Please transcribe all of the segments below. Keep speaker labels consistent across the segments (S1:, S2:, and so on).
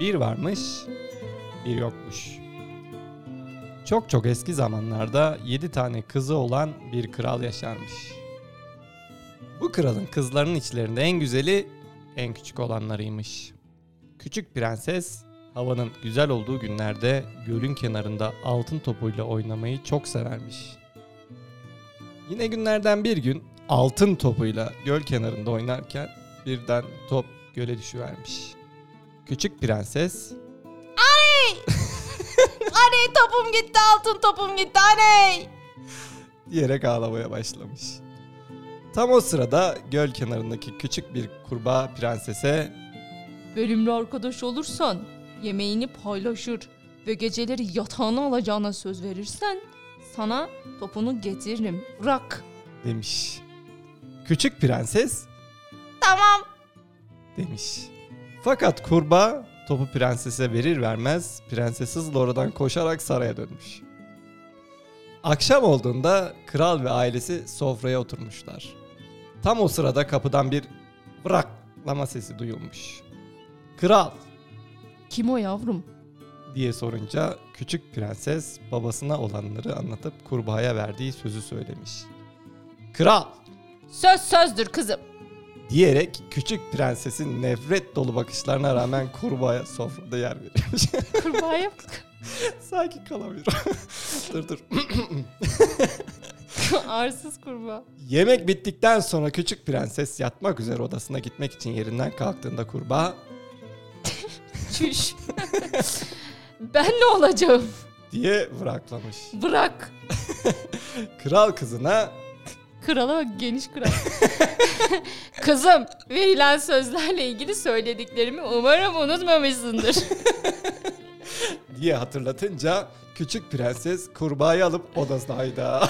S1: Bir varmış, bir yokmuş. Çok çok eski zamanlarda 7 tane kızı olan bir kral yaşarmış. Bu kralın kızlarının içlerinde en güzeli en küçük olanlarıymış. Küçük prenses havanın güzel olduğu günlerde gölün kenarında altın topuyla oynamayı çok severmiş. Yine günlerden bir gün altın topuyla göl kenarında oynarken birden top göle düşüvermiş. Küçük prenses
S2: Aney topum gitti altın topum gitti hani. aney.
S1: diyerek ağlamaya başlamış. Tam o sırada göl kenarındaki küçük bir kurbağa prensese
S2: Bölümlü arkadaş olursan yemeğini paylaşır ve geceleri yatağını alacağına söz verirsen sana topunu getiririm. Bırak.
S1: demiş. Küçük prenses
S2: Tamam.
S1: demiş. Fakat kurbağa topu prensese verir vermez prenses hızla oradan koşarak saraya dönmüş. Akşam olduğunda kral ve ailesi sofraya oturmuşlar. Tam o sırada kapıdan bir bıraklama sesi duyulmuş. Kral
S2: Kim o yavrum?
S1: diye sorunca küçük prenses babasına olanları anlatıp kurbağaya verdiği sözü söylemiş. Kral
S2: Söz sözdür kızım.
S1: diyerek küçük prensesin nefret dolu bakışlarına rağmen kurbağaya sofrada yer veriyormuş.
S2: Kurbağaya
S1: Sakin kalamıyorum. dur dur.
S2: Arsız kurbağa.
S1: Yemek bittikten sonra küçük prenses yatmak üzere odasına gitmek için yerinden kalktığında kurbağa
S2: Çüş. ben ne olacağım?
S1: diye bıraklamış.
S2: Bırak.
S1: Kral kızına
S2: Krala bak geniş kral. Kızım verilen sözlerle ilgili söylediklerimi umarım unutmamışsındır.
S1: diye hatırlatınca küçük prenses kurbağayı alıp odasına hayda.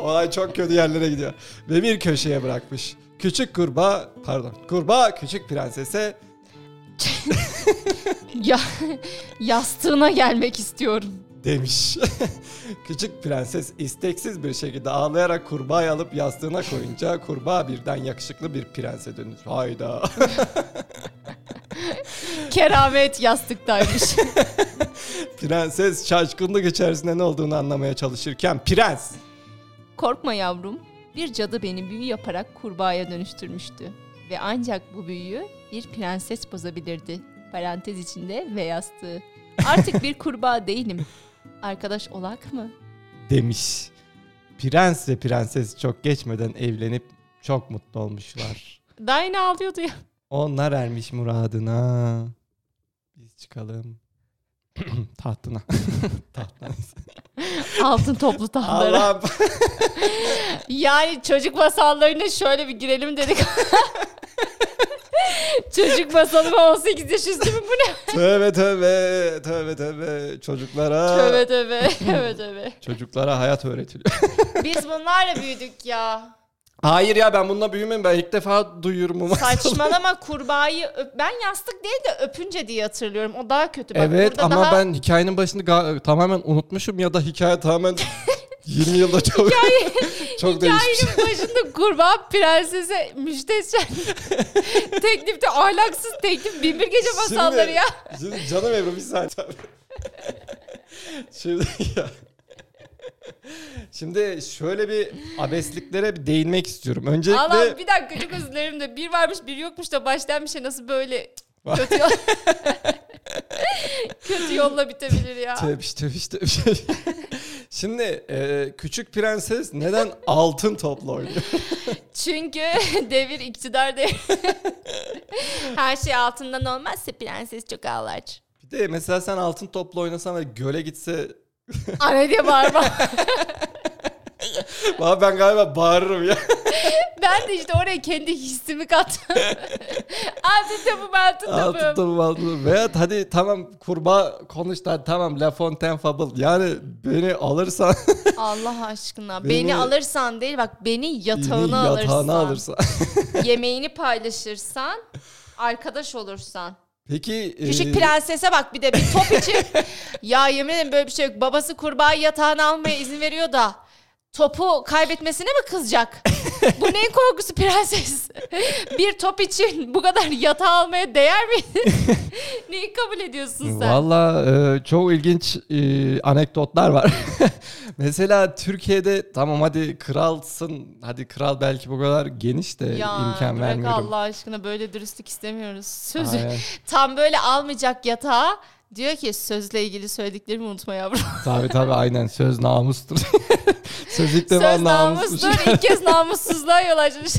S1: Olay çok kötü yerlere gidiyor. Ve bir köşeye bırakmış. Küçük kurbağa, pardon, kurbağa küçük prensese
S2: ya yastığına gelmek istiyorum.
S1: demiş. küçük prenses isteksiz bir şekilde ağlayarak kurbağayı alıp yastığına koyunca kurbağa birden yakışıklı bir prense dönür. Hayda.
S2: Keramet yastıktaymış.
S1: Prenses şaşkınlık içerisinde ne olduğunu anlamaya çalışırken prens
S2: Korkma yavrum. Bir cadı beni büyü yaparak kurbağaya dönüştürmüştü. Ve ancak bu büyüyü bir prenses bozabilirdi. Parantez içinde ve yastığı. Artık bir kurbağa değilim. Arkadaş olak mı?
S1: demiş. Prens ve prenses çok geçmeden evlenip çok mutlu olmuşlar.
S2: Daha yine ağlıyordu ya.
S1: Onlar ermiş muradına. Biz çıkalım. Tahtına. Tahtına.
S2: Altın toplu tahtlara.
S1: Allah'ım.
S2: Yani çocuk masallarına şöyle bir girelim dedik. çocuk masalı mı 18 yaş üstü mü bu ne?
S1: tövbe tövbe. Tövbe tövbe. Çocuklara.
S2: Tövbe tövbe. Tövbe tövbe.
S1: Çocuklara hayat öğretiliyor.
S2: Biz bunlarla büyüdük ya.
S1: Hayır ya ben bununla büyümem. Ben ilk defa duyuyorum bu masalı.
S2: Saçmalama kurbağayı öp. Ben yastık değil de öpünce diye hatırlıyorum. O daha kötü. Bak,
S1: Evet
S2: burada
S1: ama
S2: daha...
S1: ben hikayenin başını ga- tamamen unutmuşum ya da hikaye tamamen 20 yılda çok, çok değişmiş.
S2: Hikayenin başında kurbağa prensese müsteşar teklifte ahlaksız teklif binbir gece
S1: Şimdi-
S2: masalları ya.
S1: Şimdi canım Ebru bir saniye. abi. Şimdi ya. Şimdi şöyle bir abesliklere bir değinmek istiyorum. Öncelikle
S2: Allah bir dakika çok özür dilerim de bir varmış bir yokmuş da baştan bir şey nasıl böyle kötü yol... kötü yolla bitebilir ya.
S1: Tövbiş tövbiş tövbiş. Şimdi e, küçük prenses neden altın topla oynuyor?
S2: Çünkü devir iktidar devir. Her şey altından olmazsa prenses çok ağlar.
S1: Bir de mesela sen altın topla oynasan ve göle gitse
S2: Anne diye bağırma.
S1: Vallahi ben galiba bağırırım ya.
S2: ben de işte oraya kendi hissimi kattım. altın topum altın topum.
S1: Altın topum altın topum. Veya hadi tamam kurbağa konuş da tamam La Fontaine Fable. Yani beni alırsan
S2: Allah aşkına
S1: Beni-
S2: beni, alırsan değil bak beni
S1: yatağını
S2: yatağına,
S1: yatağına
S2: alırsan.
S1: alırsan.
S2: yemeğini paylaşırsan, arkadaş olursan.
S1: Peki
S2: Küçük
S1: e,
S2: prensese bak bir de bir top için. ya yemin ederim böyle bir şey yok. Babası kurbağa yatağına almaya izin veriyor da topu kaybetmesine mi kızacak? Bu neyin korkusu prenses? bir top için bu kadar yatağı almaya değer miydi? neyi kabul ediyorsun sen?
S1: Valla e, çok ilginç e, anekdotlar var. Mesela Türkiye'de tamam hadi kralsın. Hadi kral belki bu kadar geniş de imkan
S2: bırak
S1: vermiyorum.
S2: Allah aşkına böyle dürüstlük istemiyoruz. Sözü
S1: Aynen.
S2: tam böyle almayacak yatağa diyor ki sözle ilgili söylediklerimi unutma yavrum.
S1: Tabii tabii aynen söz namustur. söz ilk defa
S2: Söz
S1: namusmuş.
S2: namustur. İlk kez namussuzluğa yol açmış.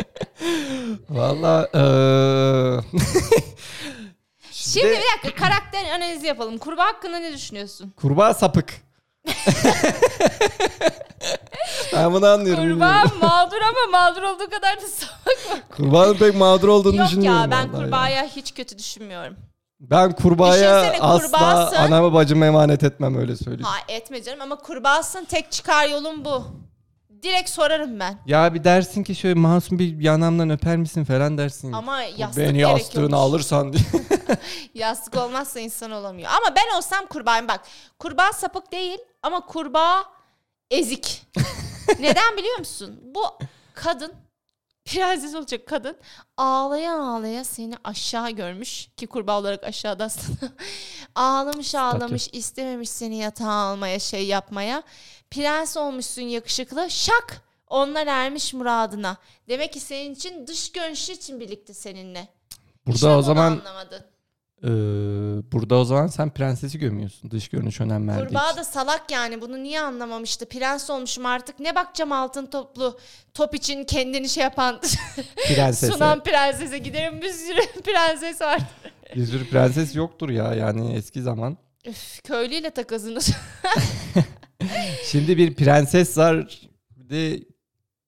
S1: Valla e,
S2: Şimdi bir dakika karakter analizi yapalım. Kurbağa hakkında ne düşünüyorsun?
S1: kurbağa sapık. ben bunu anlıyorum.
S2: Kurbağa
S1: bilmiyorum.
S2: mağdur ama mağdur olduğu kadar da salak.
S1: Kurbağanın pek mağdur olduğunu
S2: Yok
S1: düşünmüyorum.
S2: ya ben
S1: vallahi
S2: kurbağaya hiç kötü düşünmüyorum.
S1: Ben kurbağaya
S2: Düşünsene,
S1: asla
S2: kurbağasın.
S1: anamı bacımı emanet etmem öyle söyleyeyim.
S2: Ha etme canım ama kurbağasın tek çıkar yolun bu. Direkt sorarım ben.
S1: Ya bir dersin ki şöyle masum bir yanamdan öper misin falan dersin.
S2: Ama yastık
S1: Beni
S2: gerek
S1: yastığına
S2: yokmuş.
S1: alırsan diye.
S2: Yastık olmazsa insan olamıyor. Ama ben olsam kurbağayım bak. Kurbağa sapık değil ama kurbağa ezik. Neden biliyor musun? Bu kadın prenses olacak kadın ağlaya ağlaya seni aşağı görmüş ki kurbağa olarak aşağıda aslında. ağlamış ağlamış istememiş seni yatağa almaya şey yapmaya. Prens olmuşsun yakışıklı şak onlar ermiş muradına. Demek ki senin için dış görünüşü için birlikte seninle. İşte
S1: Burada o
S2: bunu
S1: zaman
S2: anlamadın.
S1: eee, burada o zaman sen prensesi gömüyorsun. Dış görünüş önem verdiği
S2: Kurbağa
S1: için.
S2: da salak yani bunu niye anlamamıştı? Prens olmuşum artık ne bakacağım altın toplu top için kendini şey yapan
S1: Prensese.
S2: sunan prensese giderim bir sürü prenses var.
S1: Bir sürü prenses yoktur ya yani eski zaman.
S2: Üf, köylüyle takazınız.
S1: Şimdi bir prenses var. Bir de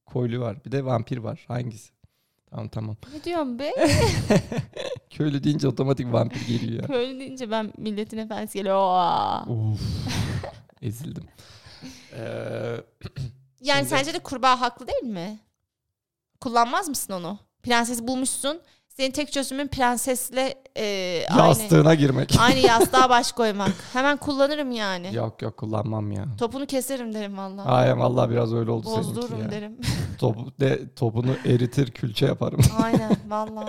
S1: koylu var. Bir de vampir var. Hangisi? Tamam tamam.
S2: ne diyorum be?
S1: Köylü deyince otomatik vampir geliyor ya.
S2: Köylü deyince ben milletin efendisi geliyor. Aa.
S1: Uf. Ezildim. Ee, Eee,
S2: Yani
S1: Şimdi-
S2: sence de kurbağa haklı değil mi? Kullanmaz mısın onu? Prenses bulmuşsun. Senin tek çözümün prensesle e, aynı,
S1: yastığına girmek.
S2: aynı yastığa baş koymak. Hemen kullanırım yani.
S1: yok yok kullanmam ya.
S2: Topunu keserim derim vallahi.
S1: Aynen vallahi biraz öyle oldu seninki ya.
S2: Bozdururum derim.
S1: Top, de, topunu eritir külçe yaparım.
S2: Aynen valla.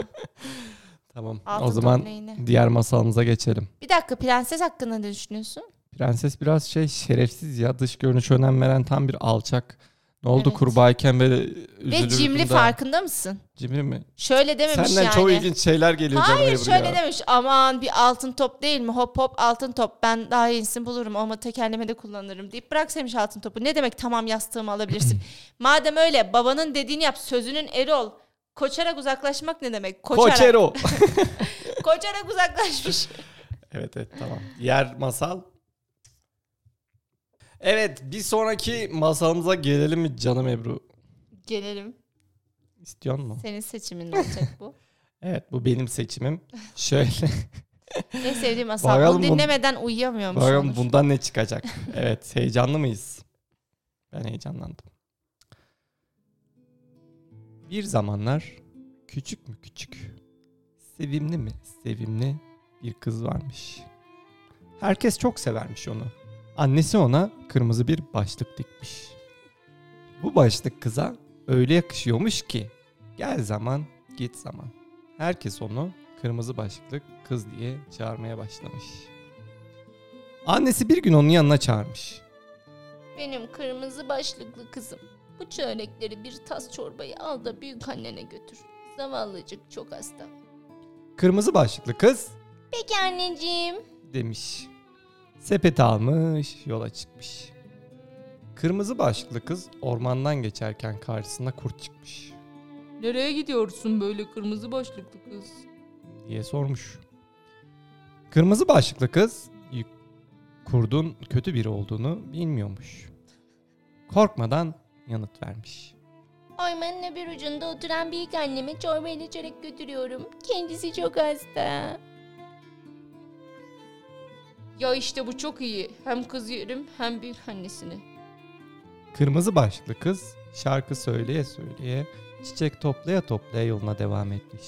S1: tamam.
S2: Altın
S1: o zaman
S2: toplayını.
S1: diğer masalımıza geçelim.
S2: Bir dakika prenses hakkında ne düşünüyorsun?
S1: Prenses biraz şey şerefsiz ya. Dış görünüş önem veren tam bir alçak. Ne oldu
S2: Evet.
S1: kurbağayken böyle üzülürdüm
S2: Ve cimri
S1: da.
S2: farkında mısın?
S1: Cimri mi?
S2: Şöyle dememiş
S1: Senden
S2: yani.
S1: çok ilginç şeyler geliyor
S2: Hayır
S1: canım Ebru
S2: şöyle
S1: ya.
S2: demiş aman bir altın top değil mi hop hop altın top ben daha iyisini bulurum ama tekerleme de kullanırım deyip bıraksaymış altın topu. Ne demek tamam yastığımı alabilirsin. Madem öyle babanın dediğini yap sözünün eri ol. Koçarak uzaklaşmak ne demek? Koçarak,
S1: Koçero.
S2: koçarak uzaklaşmış.
S1: evet evet tamam. Diğer masal. Evet bir sonraki masalımıza gelelim mi canım Ebru?
S2: Gelelim
S1: İstiyor mu?
S2: senin seçimin olacak bu.
S1: Evet bu benim seçimim. Şöyle.
S2: En sevdiğim asal.
S1: Bakalım
S2: Bunu
S1: bun-
S2: dinlemeden uyuyamıyormuş.
S1: Bakalım
S2: Onur.
S1: bundan ne çıkacak? evet, heyecanlı mıyız? Ben heyecanlandım. Bir zamanlar küçük mü küçük, sevimli mi sevimli bir kız varmış. Herkes çok severmiş onu. Annesi ona kırmızı bir başlık dikmiş. Bu başlık kıza öyle yakışıyormuş ki gel zaman git zaman. Herkes onu kırmızı başlıklı kız diye çağırmaya başlamış. Annesi bir gün onun yanına çağırmış.
S2: Benim kırmızı başlıklı kızım. Bu çörekleri bir tas çorbayı al da büyük annene götür. Zavallıcık çok hasta.
S1: Kırmızı başlıklı kız
S2: Peki anneciğim.
S1: demiş. Sepeti almış, yola çıkmış. Kırmızı başlıklı kız ormandan geçerken karşısına kurt çıkmış
S2: Nereye gidiyorsun böyle kırmızı başlıklı kız?
S1: diye sormuş. Kırmızı başlıklı kız y- kurdun kötü biri olduğunu bilmiyormuş. Korkmadan yanıt vermiş.
S2: Oymanın bir ucunda oturan büyük anneme çorba ile çörek götürüyorum. Kendisi çok hasta. Ya işte bu çok iyi. Hem kız yerim hem büyük annesini.
S1: Kırmızı başlıklı kız şarkı söyleye söyleye çiçek toplaya toplaya yoluna devam etmiş.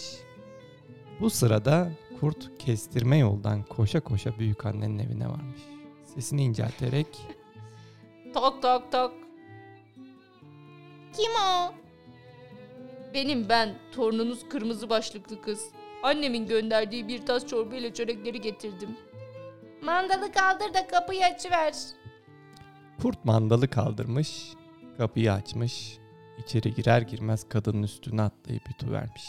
S1: Bu sırada kurt kestirme yoldan koşa koşa büyük annenin evine varmış. Sesini incelterek
S2: Tak tak tak.
S3: Kim o?
S2: Benim ben torununuz kırmızı başlıklı kız. Annemin gönderdiği bir tas çorba ile çörekleri getirdim.
S3: Mandalı kaldır da kapıyı açıver.
S1: Kurt mandalı kaldırmış, kapıyı açmış. İçeri girer girmez kadının üstüne atlayıp yutuvermiş.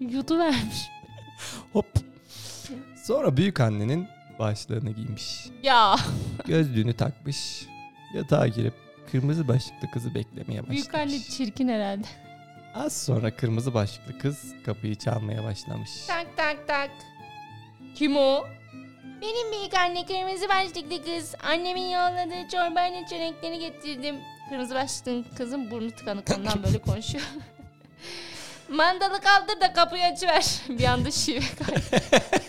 S2: Yudu vermiş.
S1: Hop. Sonra büyük annenin başlığını giymiş.
S2: Ya
S1: Gözlüğünü takmış. Yatağa girip kırmızı başlıklı kızı beklemeye başlamış.
S2: büyük anne çirkin herhalde.
S1: Az sonra kırmızı başlıklı kız kapıyı çalmaya başlamış.
S3: Tak tak tak.
S2: Kim o?
S3: Benim büyük anne kırmızı başlıklı kız. Annemin yolladığı çorbayla çörekleri getirdim.
S2: Kırmızı başlıklı kızın burnu tıkanık ondan böyle konuşuyor.
S3: Mandalı kaldır da kapıyı açıver.
S2: bir anda şive kaydı.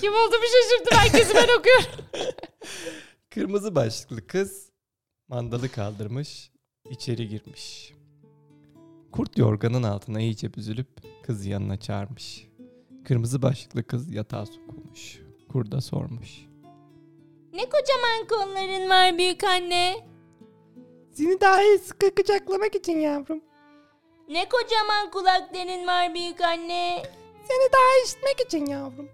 S2: Kim olduğumu şaşırdım herkesi ben okuyorum.
S1: Kırmızı başlıklı kız mandalı kaldırmış, içeri girmiş. Kurt yorganın altına iyice büzülüp kızı yanına çağırmış. Kırmızı başlıklı kız yatağa sokulmuş. Kurda sormuş.
S3: Ne kocaman kolların var büyük anne.
S1: Seni daha iyi sıkı kucaklamak için yavrum.
S3: Ne kocaman kulakların var büyük anne.
S1: Seni daha işitmek için yavrum.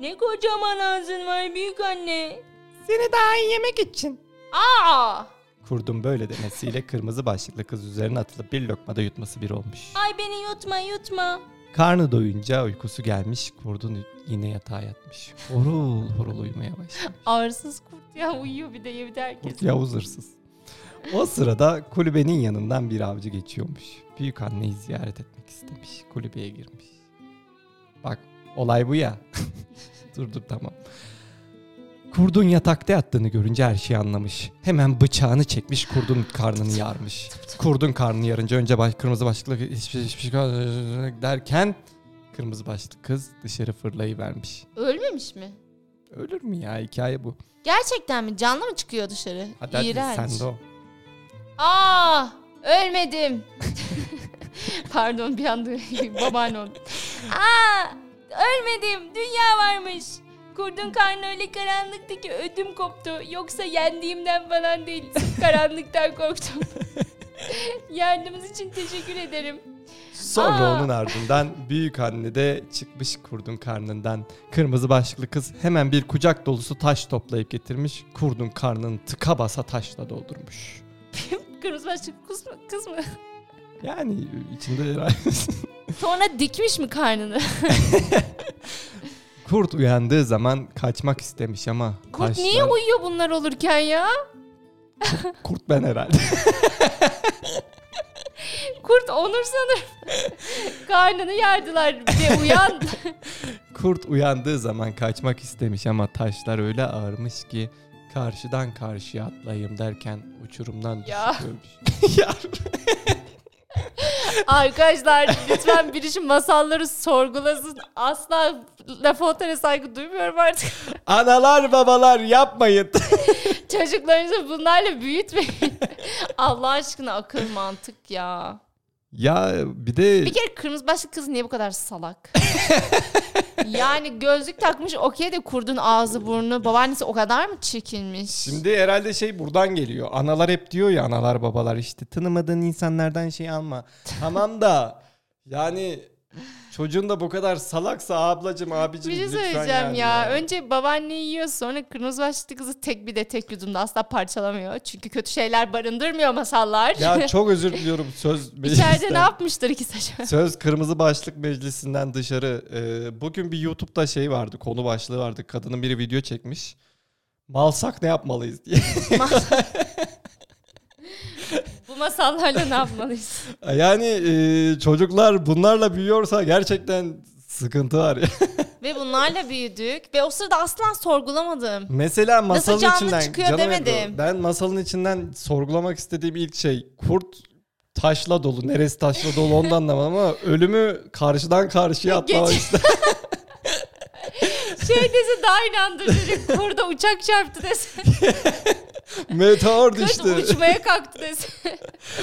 S3: Ne kocaman ağzın var büyük anne.
S1: Seni daha iyi yemek için.
S3: Aa!
S1: Kurdun böyle demesiyle kırmızı başlıklı kız üzerine atılıp bir lokmada yutması bir olmuş.
S3: Ay beni yutma yutma.
S1: Karnı doyunca uykusu gelmiş, kurdun yine yatağa yatmış. Horul horul uyumaya başlamış.
S2: Ağırsız kurt ya uyuyor bir de yedi herkes.
S1: Kurt Yavuz hırsız. O sırada kulübenin yanından bir avcı geçiyormuş. Büyük anneyi ziyaret etmek istemiş. Kulübeye girmiş. Bak olay bu ya. dur dur tamam. Kurdun yatakta yattığını görünce her şeyi anlamış. Hemen bıçağını çekmiş kurdun karnını yarmış. Kurdun karnını yarınca önce baş, kırmızı başlıklı hiçbir, hiçbir şey derken kırmızı başlıklı kız dışarı fırlayıvermiş.
S2: Ölmemiş mi?
S1: Ölür mü ya hikaye bu.
S2: Gerçekten mi? Canlı mı çıkıyor dışarı?
S1: Hadi, hadi
S2: İğrenç.
S1: sen de o.
S2: Aa, Ah, ölmedim. Pardon bir anda babaanne oldu. Ah,
S3: Aa! Ölmedim. Dünya varmış. Kurdun karnı öyle karanlıktı ki ödüm koptu. Yoksa yendiğimden falan değil. Sırf karanlıktan korktum. Yardımınız için teşekkür ederim.
S1: Sonra
S3: Aa.
S1: onun ardından büyük anne de çıkmış kurdun karnından. Kırmızı başlıklı kız hemen bir kucak dolusu taş toplayıp getirmiş. Kurdun karnını tıka basa taşla doldurmuş.
S2: Kırmızı başlıklı kız mı? Kız mı?
S1: Yani içinde herhalde-
S2: Sonra dikmiş mi karnını?
S1: kurt uyandığı zaman kaçmak istemiş ama
S2: Kurt
S1: taşla-
S2: niye uyuyor bunlar olurken ya?
S1: Kurt ben herhalde.
S2: Kurt onur sanır. karnını yardılar. Bir de uyan.
S1: kurt uyandığı zaman kaçmak istemiş ama taşlar öyle ağırmış ki karşıdan karşıya atlayayım derken uçurumdan
S2: Ya.
S1: düşüp ölmüş. ya.
S2: Arkadaşlar lütfen biri şu masalları sorgulasın. Asla La Fontaine'e saygı duymuyorum artık.
S1: Analar babalar yapmayın.
S2: Çocuklarınızı bunlarla büyütmeyin. Allah aşkına akıl mantık ya.
S1: ya bir de
S2: Bir kere kırmızı başlı kız niye bu kadar salak? yani gözlük takmış okey de kurdun ağzı burnu. Babaannesi o kadar mı çirkinmiş?
S1: Şimdi herhalde şey buradan geliyor. Analar hep diyor ya analar babalar işte tanımadığın insanlardan şey alma. Tamam da yani çocuğun da bu kadar salaksa ablacım abicim
S2: bir şey
S1: lütfen
S2: söyleyeceğim
S1: yani
S2: ya. Önce babaanneyi yiyor sonra kırmızı başlı kızı tek bir de tek yudumda asla parçalamıyor. Çünkü kötü şeyler barındırmıyor masallar.
S1: Ya çok özür diliyorum söz
S2: İçeride
S1: meclisten-
S2: ne yapmıştır ki saçma?
S1: Söz Kırmızı Başlık Meclisi'nden dışarı. Ee, bugün bir YouTube'da şey vardı, konu başlığı vardı. Kadının biri video çekmiş. Malsak ne yapmalıyız diye.
S2: Bu masallarla ne yapmalıyız?
S1: yani e, çocuklar bunlarla büyüyorsa gerçekten sıkıntı var.
S3: Ve bunlarla büyüdük. Ve o sırada asla sorgulamadım.
S1: Mesela masalın
S3: canlı
S1: içinden
S3: çıkıyor
S1: canım
S3: demedim.
S1: Ebru, ben masalın içinden sorgulamak istediğim ilk şey kurt taşla dolu. Neresi taşla dolu onu da anlamadım ama ölümü karşıdan karşıya atlamak işte.
S2: Şey dese daha inandırıcı. Burada uçak çarptı dese.
S1: Meteor
S2: Kız
S1: düştü.
S2: uçmaya kalktı desin.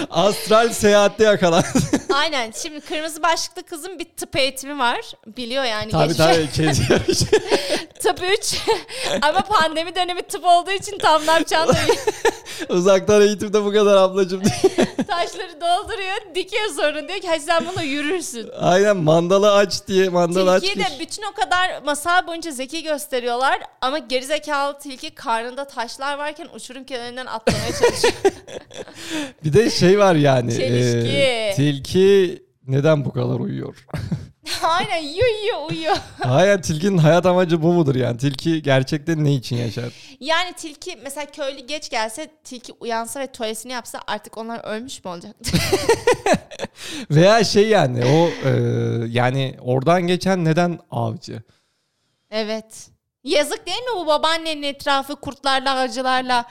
S1: Astral seyahatte yakalandı.
S2: Aynen. Şimdi kırmızı başlıklı kızın bir tıp eğitimi var. Biliyor yani.
S1: tabii
S2: geçmiş-
S1: tabii. Kedi yarışı.
S2: Tıp 3. Ama pandemi dönemi tıp olduğu için tam ne yapacağını bilmiyor.
S1: Uzaktan eğitimde bu kadar ablacım.
S2: Taşları dolduruyor. Dikiyor sonra. Diyor ki "Hadi sen bunu yürürsün.
S1: Aynen mandala aç diye mandala aç.
S2: Tilkiyi de bütün o kadar masal boyunca zeki gösteriyorlar ama gerizekalı tilki karnında taşlar varken uçurum kenarından atlamaya çalışıyor.
S1: Bir de şey var yani.
S2: Çelişki.
S1: e, tilki neden bu kadar uyuyor?
S2: Aynen yiyor yiyor uyuyor.
S1: Hayır tilkinin hayat amacı bu mudur yani? Tilki gerçekten ne için yaşar?
S2: Yani tilki mesela köylü geç gelse tilki uyansa ve tuvalesini yapsa artık onlar ölmüş mü olacaktı?
S1: Veya şey yani o e, yani oradan geçen neden avcı?
S2: evet. Yazık değil mi bu babaannenin etrafı kurtlarla acılarla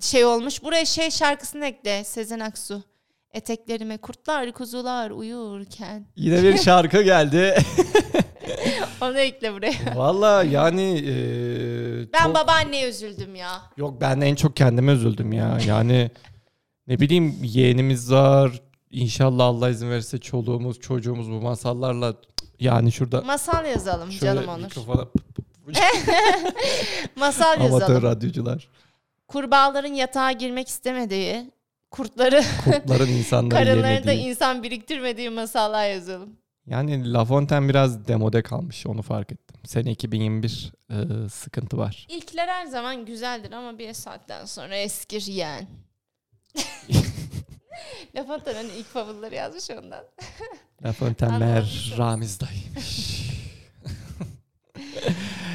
S2: şey olmuş. Buraya şey şarkısını ekle Sezen Aksu. Eteklerime kurtlar kuzular uyurken.
S1: Yine bir şarkı geldi.
S2: Onu ekle buraya.
S1: Valla yani e,
S2: Ben
S1: çok-
S2: babaanneye üzüldüm ya.
S1: Yok ben en çok kendime üzüldüm ya. Yani ne bileyim yeğenimiz var. İnşallah Allah izin verirse çoluğumuz çocuğumuz bu masallarla yani şurada
S2: Masal yazalım
S1: şöyle
S2: canım Onur.
S1: mikrofona
S2: Masal
S1: amatör
S2: yazalım.
S1: radyocular.
S2: Kurbağaların yatağa girmek istemediği, kurtları,
S1: Kurtların insanları
S2: karınları da
S1: yemediği.
S2: insan biriktirmediği masallar yazalım.
S1: Yani La Fontaine biraz demode kalmış onu fark ettim. Sene 2021 e, sıkıntı var.
S2: İlkler her zaman güzeldir ama bir saatten sonra eskir yani. La Fontaine'in ilk fabulları yazmış ondan.
S1: La Fontaine meğer
S2: Anlamışsınız.
S1: Ramiz dayıymış.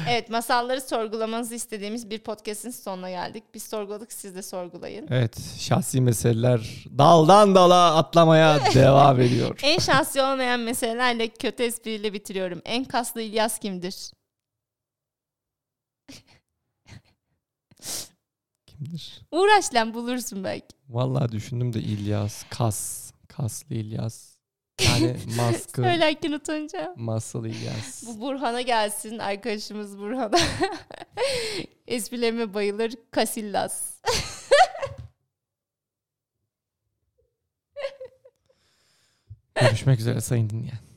S2: Evet masalları sorgulamanızı istediğimiz bir podcast'in sonuna geldik. Biz sorguladık siz de sorgulayın.
S1: evet şahsi meseleler daldan dala atlamaya devam ediyor.
S2: En şahsi olmayan meselelerle kötü espriyle bitiriyorum. En kaslı İlyas kimdir?
S1: Kimdir?
S2: Uğraş lan bulursun belki.
S1: Vallahi düşündüm de İlyas, Kas, Kaslı İlyas. Yani maskı,
S2: Söylerken utanacağım.
S1: Masıl İlyas.
S2: Bu Burhan'a gelsin arkadaşımız Burhan'a. Esprilerime bayılır Kasillas.
S1: Görüşmek üzere sayın dinleyen.